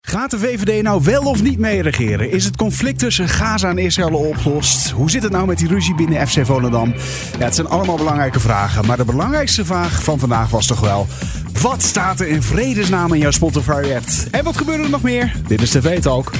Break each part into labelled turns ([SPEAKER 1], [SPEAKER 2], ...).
[SPEAKER 1] Gaat de VVD nou wel of niet mee regeren? Is het conflict tussen Gaza en Israël opgelost? Hoe zit het nou met die ruzie binnen FC Volendam? Ja, het zijn allemaal belangrijke vragen. Maar de belangrijkste vraag van vandaag was toch wel... Wat staat er in vredesnaam in jouw Spotify-app? En wat gebeurde er nog meer? Dit is TV Talk.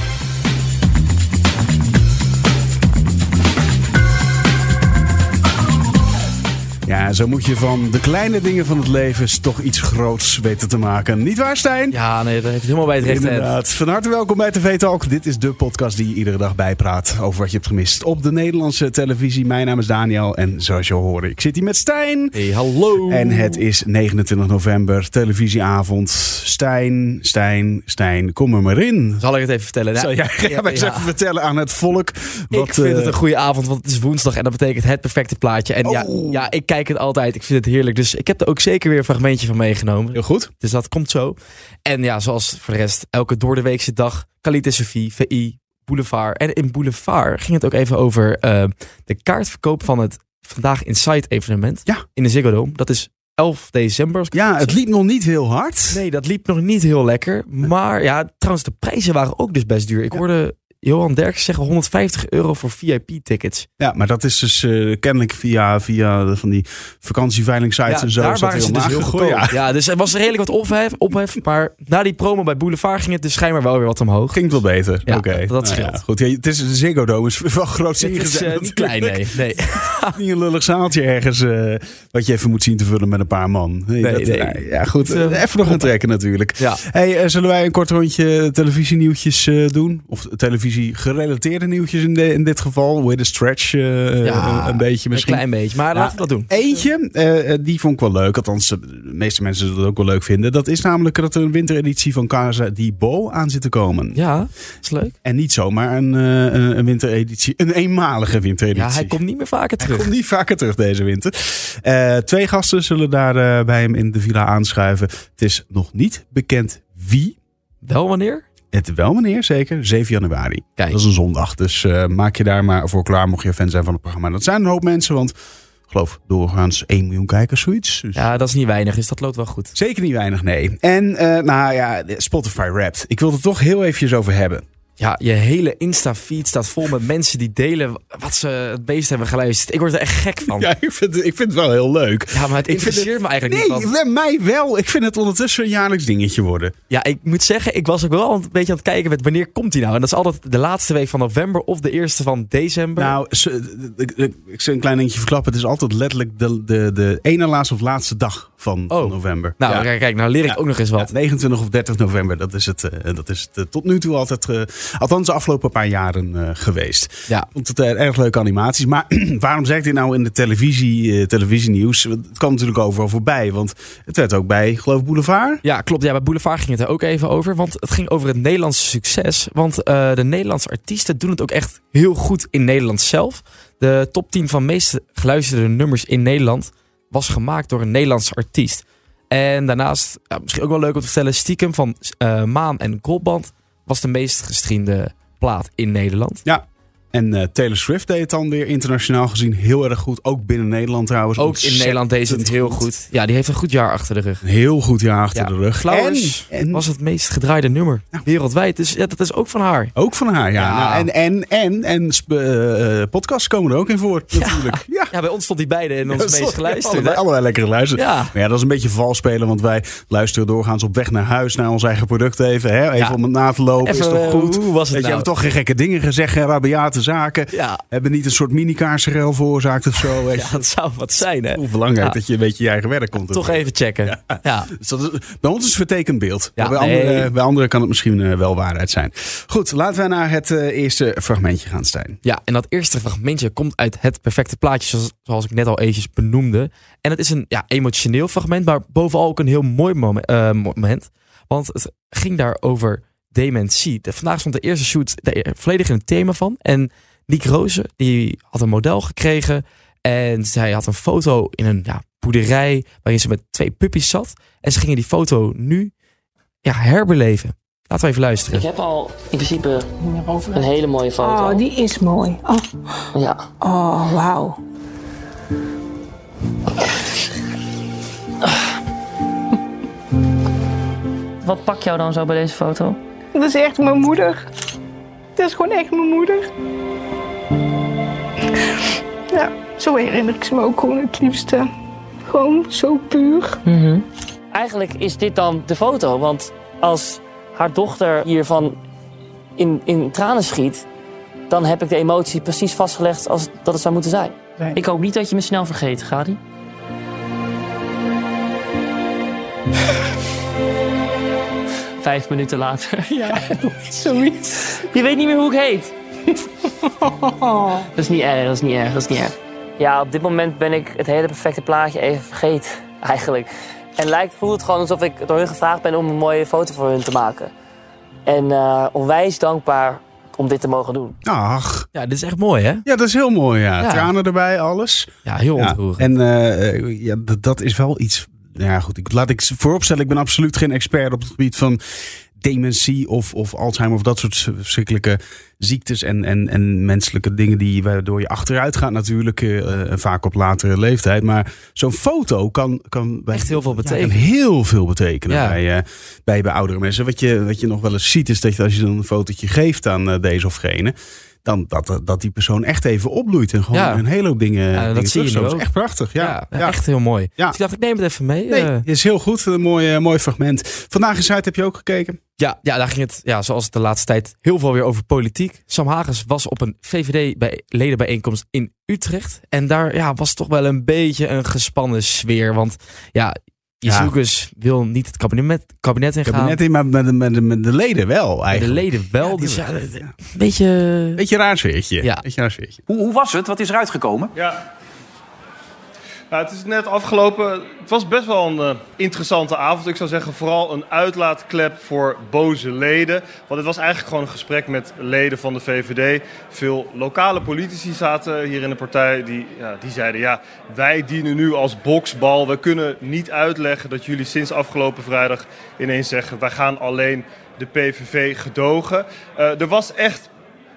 [SPEAKER 1] Ja, zo moet je van de kleine dingen van het leven toch iets groots weten te maken. Niet waar, Stijn?
[SPEAKER 2] Ja, nee, dat heeft helemaal bij het rechte eind.
[SPEAKER 1] Inderdaad. Van harte welkom bij TV Talk. Dit is de podcast die je iedere dag bijpraat over wat je hebt gemist op de Nederlandse televisie. Mijn naam is Daniel en zoals je hoort, ik zit hier met Stijn.
[SPEAKER 2] Hey, hallo.
[SPEAKER 1] En het is 29 november, televisieavond. Stijn, Stijn, Stijn, kom er maar in.
[SPEAKER 2] Zal ik het even vertellen?
[SPEAKER 1] Zal jij ga maar eens even vertellen aan het volk wat...
[SPEAKER 2] ik vind
[SPEAKER 1] eh,
[SPEAKER 2] het een goede avond, want het is woensdag en dat betekent het perfecte plaatje. En ja,
[SPEAKER 1] Oh.
[SPEAKER 2] ja, ik kijk het altijd. Ik vind het heerlijk. Dus ik heb er ook zeker weer een fragmentje van meegenomen.
[SPEAKER 1] Heel goed.
[SPEAKER 2] Dus dat komt zo. En ja, zoals voor de rest, elke door de weekse dag, Khalid en Sophie, VI, Boulevard. En in Boulevard ging het ook even over eh, de kaartverkoop van het Vandaag Insight evenement.
[SPEAKER 1] Ja.
[SPEAKER 2] In de Ziggo Dome. Dat is 11 december. als ik
[SPEAKER 1] Ja, het liep nog niet heel hard.
[SPEAKER 2] Nee, dat liep nog niet heel lekker. Maar ja, trouwens, de prijzen waren ook dus best duur. Ik
[SPEAKER 1] Ja.
[SPEAKER 2] hoorde Johan Derks zeggen 150 euro voor VIP-tickets.
[SPEAKER 1] Ja, maar dat is dus eh, kennelijk via, via de- van die vakantieveiling sites en zo.
[SPEAKER 2] daar
[SPEAKER 1] is dat
[SPEAKER 2] waren ze dus heel
[SPEAKER 1] laag
[SPEAKER 2] goedkoop.
[SPEAKER 1] gekomen.
[SPEAKER 2] Ja. dus er was redelijk wat ophef, ophef. Maar na die promo bij Boulevard ging het dus schijnbaar wel weer wat omhoog.
[SPEAKER 1] Ging het wel beter.
[SPEAKER 2] Ja,
[SPEAKER 1] Oké.
[SPEAKER 2] dat
[SPEAKER 1] Nou
[SPEAKER 2] scheelt.
[SPEAKER 1] ja, goed, ja, het is een Ziggo Dome, is wel groot
[SPEAKER 2] Het is
[SPEAKER 1] ingezet
[SPEAKER 2] eh, niet klein,
[SPEAKER 1] natuurlijk.
[SPEAKER 2] nee. nee.
[SPEAKER 1] Niet een lullig zaaltje ergens eh, wat je even moet zien te vullen met een paar man. Nee,
[SPEAKER 2] Nee,
[SPEAKER 1] dat-
[SPEAKER 2] nee.
[SPEAKER 1] nou, Ja, goed.
[SPEAKER 2] Het, eh,
[SPEAKER 1] even nog een trekken natuurlijk.
[SPEAKER 2] Ja.
[SPEAKER 1] Hey, eh, zullen wij een kort rondje televisienieuwtjes eh, doen? Of televisie-gerelateerde nieuwtjes in, de- in dit geval? Hoe heet het? Stretch eh,
[SPEAKER 2] Ja,
[SPEAKER 1] een, een beetje
[SPEAKER 2] Een
[SPEAKER 1] misschien?
[SPEAKER 2] klein beetje, maar laten we dat doen.
[SPEAKER 1] Eentje, eh, eh, die vond ik wel leuk. Althans, eh, de meeste mensen zullen het ook wel leuk vinden. Dat is namelijk dat er een wintereditie van Casa di Bo aan zit te komen.
[SPEAKER 2] Ja, is leuk.
[SPEAKER 1] En niet zomaar een, eh, een- een wintereditie. Een eenmalige wintereditie.
[SPEAKER 2] Ja, hij komt niet meer vaker
[SPEAKER 1] Hij
[SPEAKER 2] terug.
[SPEAKER 1] komt niet vaker terug deze winter. Eh, twee gasten zullen daar eh, bij hem in de villa aanschuiven. Het is nog niet bekend wie.
[SPEAKER 2] Wel wanneer?
[SPEAKER 1] Het wel, meneer, zeker. 7 januari.
[SPEAKER 2] Kijk.
[SPEAKER 1] Dat is een zondag. Dus eh, maak je daar maar voor klaar, mocht je fan zijn van het programma. Dat zijn een hoop mensen, want ik geloof doorgaans 1 miljoen kijkers, zoiets. Dus
[SPEAKER 2] Ja, dat is niet weinig, dus dat loopt wel goed.
[SPEAKER 1] Zeker niet weinig, nee. En eh, nou ja, Spotify Wrapped. Ik wil het toch heel eventjes over hebben.
[SPEAKER 2] Ja, je hele Insta-feed staat vol met mensen die delen wat ze het beest hebben geluisterd. Ik word er echt gek van. Ja,
[SPEAKER 1] Ja, ik vind, ik vind het wel heel leuk.
[SPEAKER 2] maar het
[SPEAKER 1] Ik vind
[SPEAKER 2] interesseert me eigenlijk
[SPEAKER 1] Nee,
[SPEAKER 2] niet. want-
[SPEAKER 1] mij wel. Ik vind het ondertussen een jaarlijks dingetje worden.
[SPEAKER 2] Ja, ik moet zeggen, ik was ook wel een beetje aan het kijken met wanneer komt hij nou. En dat is altijd de laatste week van november of de eerste van december.
[SPEAKER 1] Nou, ze- ik- ik ik zal een klein dingetje verklappen. Het is altijd letterlijk de, de, de ene laatste of laatste dag van, van
[SPEAKER 2] Oh.
[SPEAKER 1] november.
[SPEAKER 2] nou,
[SPEAKER 1] Ja.
[SPEAKER 2] kijk, kijk, nou leer ik
[SPEAKER 1] Ja.
[SPEAKER 2] ook nog eens
[SPEAKER 1] Ja,
[SPEAKER 2] wat.
[SPEAKER 1] 29 of 30 november, dat is het, eh, dat is het eh, tot nu toe altijd, eh, althans de afgelopen paar jaren eh, geweest.
[SPEAKER 2] Ja.
[SPEAKER 1] Vond het eh, erg leuke animaties. Maar waarom zeg ik dit nou in de televisie, eh, televisienieuws? Want Het kwam natuurlijk overal voorbij, want het werd ook bij, geloof ik, Boulevard.
[SPEAKER 2] Ja, klopt. Ja, bij Boulevard ging het er ook even over. Want het ging over het Nederlandse succes. Want eh, de Nederlandse artiesten doen het ook echt heel goed in Nederland zelf. De top 10 van meest geluisterde nummers in Nederland was gemaakt door een Nederlandse artiest. En daarnaast, ja, misschien ook wel leuk om te vertellen, stiekem van eh, Maan en Goldband was de meest gestreamde plaat in Nederland.
[SPEAKER 1] En eh, Taylor Swift deed het dan weer internationaal gezien heel erg goed. Ook binnen Nederland trouwens.
[SPEAKER 2] Ook in
[SPEAKER 1] Ontzettend
[SPEAKER 2] Nederland deze het heel goed. Ja, die heeft een goed jaar achter de rug.
[SPEAKER 1] Een heel goed jaar achter
[SPEAKER 2] Ja,
[SPEAKER 1] de rug.
[SPEAKER 2] Flowers
[SPEAKER 1] En- en-
[SPEAKER 2] was het meest gedraaide nummer wereldwijd. Dus ja, dat is ook van haar.
[SPEAKER 1] Ook van haar, ja.
[SPEAKER 2] Ja.
[SPEAKER 1] Nou, en en, en, en sp- eh, eh, podcasts komen er ook in voor, natuurlijk. Ja.
[SPEAKER 2] Ja, bij ons stond die beide in onze
[SPEAKER 1] Ja,
[SPEAKER 2] meest
[SPEAKER 1] sorry,
[SPEAKER 2] geluisterd.
[SPEAKER 1] Allebei, allebei lekker geluisterd.
[SPEAKER 2] Ja.
[SPEAKER 1] Maar ja, dat is een beetje vals spelen, want wij luisteren doorgaans op weg naar huis naar ons eigen product even. Hè? Even
[SPEAKER 2] Ja.
[SPEAKER 1] om het na te lopen,
[SPEAKER 2] Even,
[SPEAKER 1] is toch
[SPEAKER 2] eh,
[SPEAKER 1] goed?
[SPEAKER 2] hoe was
[SPEAKER 1] Weet
[SPEAKER 2] het
[SPEAKER 1] je,
[SPEAKER 2] nou?
[SPEAKER 1] hebben toch geen gekke dingen gezegd, geen rabiate zaken.
[SPEAKER 2] Ja.
[SPEAKER 1] Hebben niet een soort mini-kaarsrel veroorzaakt of zo. Weet je.
[SPEAKER 2] ja, dat zou wat zijn, hè?
[SPEAKER 1] Hoe belangrijk
[SPEAKER 2] Ja.
[SPEAKER 1] dat je een beetje je eigen werk komt
[SPEAKER 2] Toch
[SPEAKER 1] doen.
[SPEAKER 2] even checken. Ja.
[SPEAKER 1] Dus dat is- bij ons is het vertekend beeld.
[SPEAKER 2] Ja,
[SPEAKER 1] Maar bij, anderen,
[SPEAKER 2] nee.
[SPEAKER 1] bij anderen kan het misschien eh, wel waarheid zijn. Goed, laten wij naar het eh, eerste fragmentje gaan, Stijn.
[SPEAKER 2] Ja, en dat eerste fragmentje komt uit het perfecte plaatje, zoals, zoals ik net al eventjes benoemde. En het is een ja, emotioneel fragment, maar bovenal ook een heel mooi momen- eh, moment. Want het ging daar over dementie. De- vandaag stond de eerste shoot daar volledig in het thema van. En Nick Rozen, die had een model gekregen. En zij had een foto in een ja, boerderij waarin ze met twee puppies zat. En ze gingen die foto nu ja, herbeleven. Laten we even luisteren.
[SPEAKER 3] Ik heb al in principe een hele mooie foto.
[SPEAKER 4] Oh, die is mooi. Oh,
[SPEAKER 3] Ja.
[SPEAKER 4] oh wauw.
[SPEAKER 3] Wat pak jou dan zo bij deze foto?
[SPEAKER 4] Dat is echt mijn moeder. Het is gewoon echt mijn moeder. Ja, zo herinner ik ze me ook gewoon het liefste. Gewoon zo puur.
[SPEAKER 3] Eigenlijk is dit dan de foto, want als haar dochter hiervan in, in tranen schiet, dan heb ik de emotie precies vastgelegd als dat het zou moeten zijn. Ik hoop niet dat je me snel vergeet, Gadi. Vijf minuten later. Ja,
[SPEAKER 4] Zoiets.
[SPEAKER 3] je weet niet meer hoe ik heet. Dat is niet erg, dat is niet erg, dat is niet erg. Ja, op dit moment ben ik het hele perfecte plaatje even vergeten, eigenlijk. En lijkt, voelt het gewoon alsof ik door hun gevraagd ben om een mooie foto voor hun te maken. En eh, onwijs dankbaar om dit te mogen doen.
[SPEAKER 1] Ach,
[SPEAKER 2] Ja, dit is echt mooi, hè?
[SPEAKER 1] ja, dat is heel mooi. Ja.
[SPEAKER 2] Ja.
[SPEAKER 1] Tranen erbij, alles.
[SPEAKER 2] Ja, heel
[SPEAKER 1] Ja,
[SPEAKER 2] ontroerend.
[SPEAKER 1] En eh, eh, ja, d- dat is wel iets. nou Ja, goed. Ik, laat ik vooropstellen, ik ben absoluut geen expert op het gebied van dementie of, of Alzheimer of dat soort verschrikkelijke ziektes en, en, en menselijke dingen die waardoor je achteruit gaat natuurlijk eh, eh, vaak op latere leeftijd. Maar zo'n foto kan, kan bij,
[SPEAKER 2] Echt heel veel
[SPEAKER 1] ja, kan
[SPEAKER 2] betekenen.
[SPEAKER 1] heel veel betekenen
[SPEAKER 2] Ja.
[SPEAKER 1] bij, eh, bij, bij oudere mensen. Wat je, wat je nog wel eens ziet is dat je, als je dan een fotootje geeft aan eh, deze of gene, dan dat, dat die persoon echt even opbloeit en gewoon
[SPEAKER 2] Ja.
[SPEAKER 1] een hele hoop dingen
[SPEAKER 2] Ja, Eh, dat
[SPEAKER 1] dingen
[SPEAKER 2] zie je nu
[SPEAKER 1] terugstoot.
[SPEAKER 2] ook.
[SPEAKER 1] Echt prachtig, ja.
[SPEAKER 2] Ja,
[SPEAKER 1] ja,
[SPEAKER 2] echt heel mooi.
[SPEAKER 1] Ja.
[SPEAKER 2] Dus ik dacht, ik neem het even mee.
[SPEAKER 1] Nee,
[SPEAKER 2] eh.
[SPEAKER 1] is heel goed. Een mooi, eh, mooi fragment. Vandaag in Zuid heb je ook gekeken.
[SPEAKER 2] Ja, ja, daar ging het, ja, zoals het de laatste tijd, heel veel weer over politiek. Sam Hagens was op een VVD-ledenbijeenkomst in Utrecht. En daar ja, was toch wel een beetje een gespannen sfeer. Want ja, Jezus wil niet het kabinet,
[SPEAKER 1] Ik
[SPEAKER 2] kabinet
[SPEAKER 1] heb
[SPEAKER 2] ingaan.
[SPEAKER 1] het net in, maar met, de- met, de- met de leden wel
[SPEAKER 2] de
[SPEAKER 1] eigenlijk.
[SPEAKER 2] leden wel.
[SPEAKER 1] Ja, die
[SPEAKER 2] dus ja,
[SPEAKER 1] wel.
[SPEAKER 2] een beetje...
[SPEAKER 1] Beetje raar sfeertje.
[SPEAKER 2] Ja.
[SPEAKER 1] Beetje raar sfeertje.
[SPEAKER 5] Hoe, hoe was het? Wat is eruit gekomen?
[SPEAKER 6] Ja. Ja, het is net afgelopen. Het was best wel een eh, interessante avond. Ik zou zeggen vooral een uitlaatklep voor boze leden. Want het was eigenlijk gewoon een gesprek met leden van de VVD. Veel lokale politici zaten hier in de partij. Die, ja, die zeiden, ja, wij dienen nu als boksbal. We kunnen niet uitleggen dat jullie sinds afgelopen vrijdag ineens zeggen... wij gaan alleen de PVV gedogen. Eh, er was echt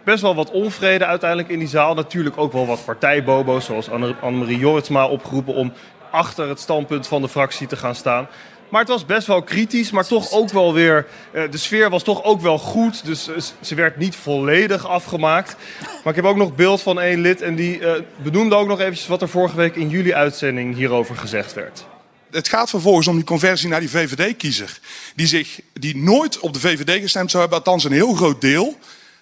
[SPEAKER 6] best wel wat onvrede uiteindelijk in die zaal. Natuurlijk ook wel wat partijbobo's, zoals Anne- Annemarie Jorritsma opgeroepen om achter het standpunt van de fractie te gaan staan. Maar het was best wel kritisch, maar toch ook wel weer. eh, de sfeer was toch ook wel goed. Dus eh, ze werd niet volledig afgemaakt. Maar ik heb ook nog beeld van één lid. En die eh, benoemde ook nog eventjes wat er vorige week in jullie uitzending hierover gezegd werd.
[SPEAKER 7] Het gaat vervolgens om die conversie naar die VVD-kiezer. Die, zich, die nooit op de VVD gestemd zou hebben, althans een heel groot deel.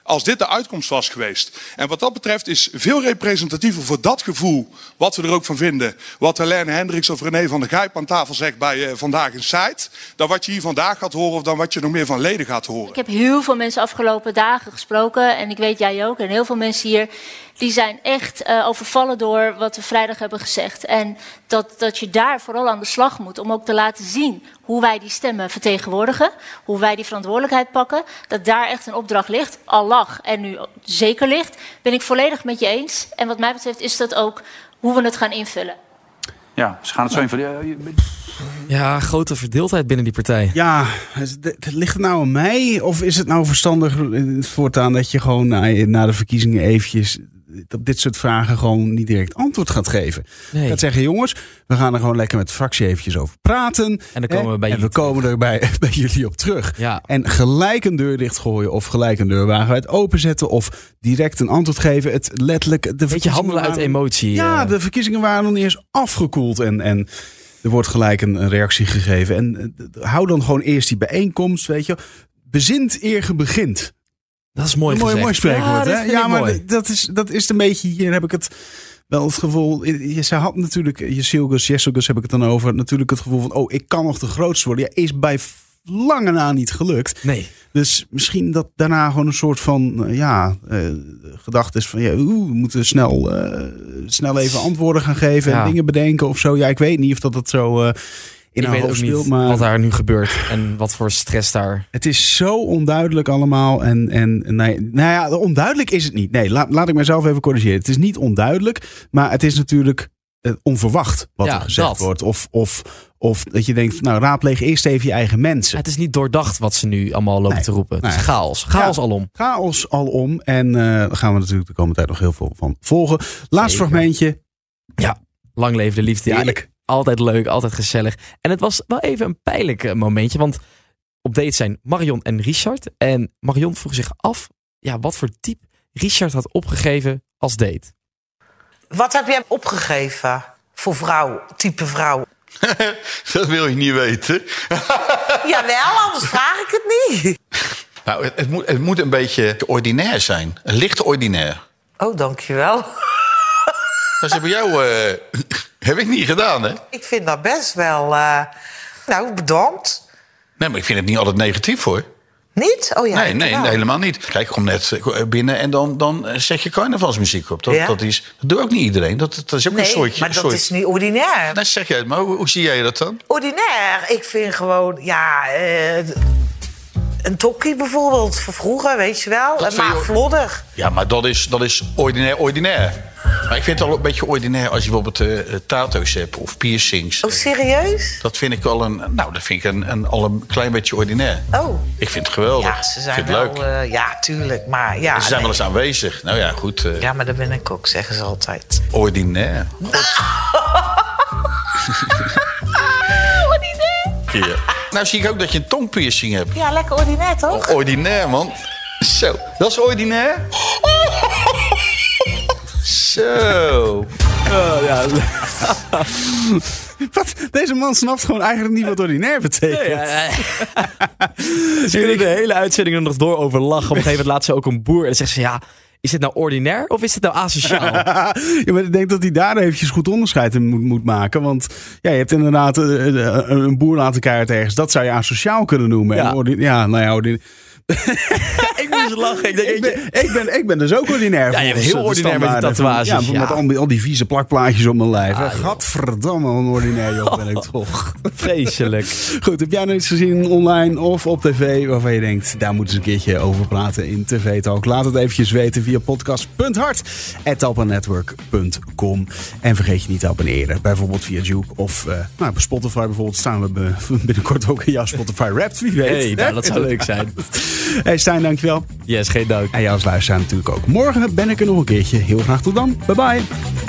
[SPEAKER 7] Als dit de uitkomst was geweest. En wat dat betreft is veel representatiever voor dat gevoel. Wat we er ook van vinden. Wat Helene Hendricks of René van der Gijp aan tafel zegt bij eh, Vandaag in Site. Dan wat je hier vandaag gaat horen of dan wat je nog meer van leden gaat horen.
[SPEAKER 8] Ik heb heel veel mensen afgelopen dagen gesproken. En ik weet jij ook. En heel veel mensen hier. Die zijn echt eh, overvallen door wat we vrijdag hebben gezegd. En dat, dat je daar vooral aan de slag moet. Om ook te laten zien hoe wij die stemmen vertegenwoordigen. Hoe wij die verantwoordelijkheid pakken. Dat daar echt een opdracht ligt. Al lag en nu zeker ligt. Ben ik volledig met je eens. En wat mij betreft is dat ook hoe we het gaan invullen.
[SPEAKER 5] Ja, ze gaan het zo in. eh,
[SPEAKER 2] Ja, grote verdeeldheid binnen die partij.
[SPEAKER 1] Ja, is- d- d- ligt het nou aan mij? Of is het nou verstandig eh, voortaan dat je gewoon na, na de verkiezingen eventjes op dit soort vragen gewoon niet direct antwoord gaat geven?
[SPEAKER 2] Nee.
[SPEAKER 1] Gaat zeggen, jongens, we gaan er gewoon lekker met de fractie eventjes over praten.
[SPEAKER 2] En dan komen
[SPEAKER 1] Hè?
[SPEAKER 2] we bij
[SPEAKER 1] en we
[SPEAKER 2] jullie
[SPEAKER 1] komen er bij, bij jullie op terug.
[SPEAKER 2] Ja.
[SPEAKER 1] En gelijk een deur dichtgooien of gelijk een deur wagenwijd openzetten of direct een antwoord geven. Het letterlijk de
[SPEAKER 2] beetje
[SPEAKER 1] verkiezingen
[SPEAKER 2] handelen uit
[SPEAKER 1] waren-
[SPEAKER 2] emotie.
[SPEAKER 1] Ja,
[SPEAKER 2] eh.
[SPEAKER 1] de verkiezingen waren nog niet eens afgekoeld en, en er wordt gelijk een, een reactie gegeven. En eh, d- d- hou dan gewoon eerst die bijeenkomst, weet je. Bezint eer ge begint.
[SPEAKER 2] dat is mooi
[SPEAKER 1] Een mooi,
[SPEAKER 2] gezegd.
[SPEAKER 1] mooi
[SPEAKER 2] ja,
[SPEAKER 1] spreekwoord,
[SPEAKER 2] dat
[SPEAKER 1] hè?
[SPEAKER 2] vind
[SPEAKER 1] Ja,
[SPEAKER 2] ik
[SPEAKER 1] maar
[SPEAKER 2] mooi.
[SPEAKER 1] d- dat is, dat is een beetje... Hier heb ik het wel het gevoel... Je, ze had natuurlijk... Jesilgus, Jessilgus heb ik het dan over. Natuurlijk het gevoel van... Oh, ik kan nog de grootste worden. Ja, is bij lange na niet gelukt.
[SPEAKER 2] Nee,
[SPEAKER 1] Dus misschien dat daarna gewoon een soort van... eh, Ja, eh gedachte is van... Ja, oeh, we moeten snel, eh, snel even antwoorden gaan geven.
[SPEAKER 2] Ja.
[SPEAKER 1] En dingen bedenken of zo. Ja, ik weet niet of dat, dat zo... eh, in
[SPEAKER 2] ik
[SPEAKER 1] haar
[SPEAKER 2] weet ook
[SPEAKER 1] hoofd
[SPEAKER 2] niet
[SPEAKER 1] speelt, maar
[SPEAKER 2] wat daar nu gebeurt. En wat voor stress daar...
[SPEAKER 1] het is zo onduidelijk allemaal. En, en nee, nou ja, onduidelijk is het niet. Nee, laat, laat ik mezelf even corrigeren. Het is niet onduidelijk, maar het is natuurlijk eh, onverwacht wat
[SPEAKER 2] Ja,
[SPEAKER 1] er gezegd
[SPEAKER 2] dat.
[SPEAKER 1] wordt. Of, of, of dat je denkt, nou raadpleeg eerst even je eigen mensen.
[SPEAKER 2] Het is niet doordacht wat ze nu allemaal lopen
[SPEAKER 1] Nee,
[SPEAKER 2] te roepen. Het is
[SPEAKER 1] nee.
[SPEAKER 2] chaos. Chaos
[SPEAKER 1] Ja.
[SPEAKER 2] alom.
[SPEAKER 1] Chaos alom. En eh, daar gaan we natuurlijk de komende tijd nog heel veel van volgen. Laatste
[SPEAKER 2] Zeker.
[SPEAKER 1] fragmentje.
[SPEAKER 2] Lang leven de liefde. Altijd leuk, altijd gezellig. En het was wel even een pijnlijk eh, momentje, want op date zijn Marion en Richard. En Marion vroeg zich af ja, wat voor type Richard had opgegeven als date.
[SPEAKER 3] Wat heb jij opgegeven voor vrouw, type vrouw?
[SPEAKER 6] Dat wil je niet weten.
[SPEAKER 3] Jawel, anders vraag ik het niet.
[SPEAKER 6] Nou, het, het moet, het moet een beetje ordinair zijn. Licht ordinair.
[SPEAKER 3] Oh, dankjewel.
[SPEAKER 6] Dat is bij jou... eh, heb ik niet gedaan, hè?
[SPEAKER 3] Ik vind dat best wel... eh, nou, bedankt.
[SPEAKER 6] Nee, maar ik vind het niet altijd negatief, hoor.
[SPEAKER 3] Niet? Oh ja.
[SPEAKER 6] nee, nee,
[SPEAKER 3] jawel.
[SPEAKER 6] helemaal niet. Kijk, ik kom net eh, binnen en dan, dan eh, zet je carnavalsmuziek op. Dat,
[SPEAKER 3] Ja.
[SPEAKER 6] dat, is, dat doet ook niet iedereen. Dat, dat is ook een
[SPEAKER 3] Nee,
[SPEAKER 6] soortje.
[SPEAKER 3] maar dat
[SPEAKER 6] soort-
[SPEAKER 3] is niet ordinair.
[SPEAKER 6] Nou, zeg jij het, maar hoe, hoe zie jij dat dan?
[SPEAKER 3] Ordinair. Ik vind gewoon, ja... eh, een tokkie bijvoorbeeld, van vroeger, weet je wel.
[SPEAKER 6] Dat
[SPEAKER 3] Eh,
[SPEAKER 6] vind je-
[SPEAKER 3] maar vlodder.
[SPEAKER 6] Ja, maar dat is, dat is ordinair, ordinair. Maar ik vind het al een beetje ordinair als je bijvoorbeeld eh, eh, tato's hebt of piercings.
[SPEAKER 3] Oh, serieus?
[SPEAKER 6] Dat vind ik al een, nou, dat vind ik een, een, al een klein beetje ordinair.
[SPEAKER 3] Oh.
[SPEAKER 6] Ik vind het geweldig.
[SPEAKER 3] Ja, ze
[SPEAKER 6] ik
[SPEAKER 3] zijn
[SPEAKER 6] vind het
[SPEAKER 3] wel...
[SPEAKER 6] leuk.
[SPEAKER 3] eh, ja, tuurlijk, maar ja...
[SPEAKER 6] En ze zijn
[SPEAKER 3] nee.
[SPEAKER 6] wel eens aanwezig. Nou ja, goed. eh,
[SPEAKER 3] Ja, maar dat ben ik ook, zeggen ze altijd. Nou.
[SPEAKER 6] Ordinair. ordinair. Nou zie ik ook dat je een tongpiercing hebt. Oh,
[SPEAKER 3] Ja, lekker ordinair, toch?
[SPEAKER 6] Ordinair, man. Zo, dat is ordinair. Zo.
[SPEAKER 1] Wat? Deze man snapt gewoon eigenlijk niet wat ordinair betekent.
[SPEAKER 2] Ze kunnen de hele uitzending er nog door over lachen. Op een gegeven moment laat ze ook een boer en dan zegt ze ja... Is dit nou ordinair of is dit nou asociaal?
[SPEAKER 1] ja, maar ik denk dat hij daar eventjes goed onderscheid in moet, moet maken. Want ja, je hebt inderdaad eh, eh, eh, een boer laten keihard ergens. Dat zou je asociaal kunnen noemen.
[SPEAKER 2] Ja.
[SPEAKER 1] En ordi- ja nou ja, ordi-
[SPEAKER 2] ik moest lachen. Ik denk,
[SPEAKER 1] ik, ben, ik, ben, ik ben dus ook ordinair.
[SPEAKER 2] Ja, je bent
[SPEAKER 1] volgens
[SPEAKER 2] heel
[SPEAKER 1] de
[SPEAKER 2] ordinair met die
[SPEAKER 1] standaarden van-
[SPEAKER 2] tatoeages,
[SPEAKER 1] Ja,
[SPEAKER 2] ja.
[SPEAKER 1] met al die, al die vieze plakplaatjes op mijn lijf. hè.
[SPEAKER 2] Ja, joh.
[SPEAKER 1] Gadverdamme, wat een ordinair joh, ben ik toch.
[SPEAKER 2] Vreselijk.
[SPEAKER 1] Goed, heb jij nou iets gezien online of op tv waarvan je denkt, daar moeten ze een keertje over praten in TV Talk? Laat het eventjes weten via podcast.hart.talpanetwork.com. En vergeet je niet te abonneren, bijvoorbeeld via Juke of eh, nou, bij Spotify bijvoorbeeld. Staan we be- binnenkort ook in jouw Spotify Wrapped, wie weet.
[SPEAKER 2] Hey, nou, dat zou leuk zijn.
[SPEAKER 1] Hey Stijn, dankjewel.
[SPEAKER 2] Yes, geen dank.
[SPEAKER 1] En jou als luisteraar natuurlijk ook. Morgen ben ik er nog een keertje. Heel graag tot dan. Bye bye.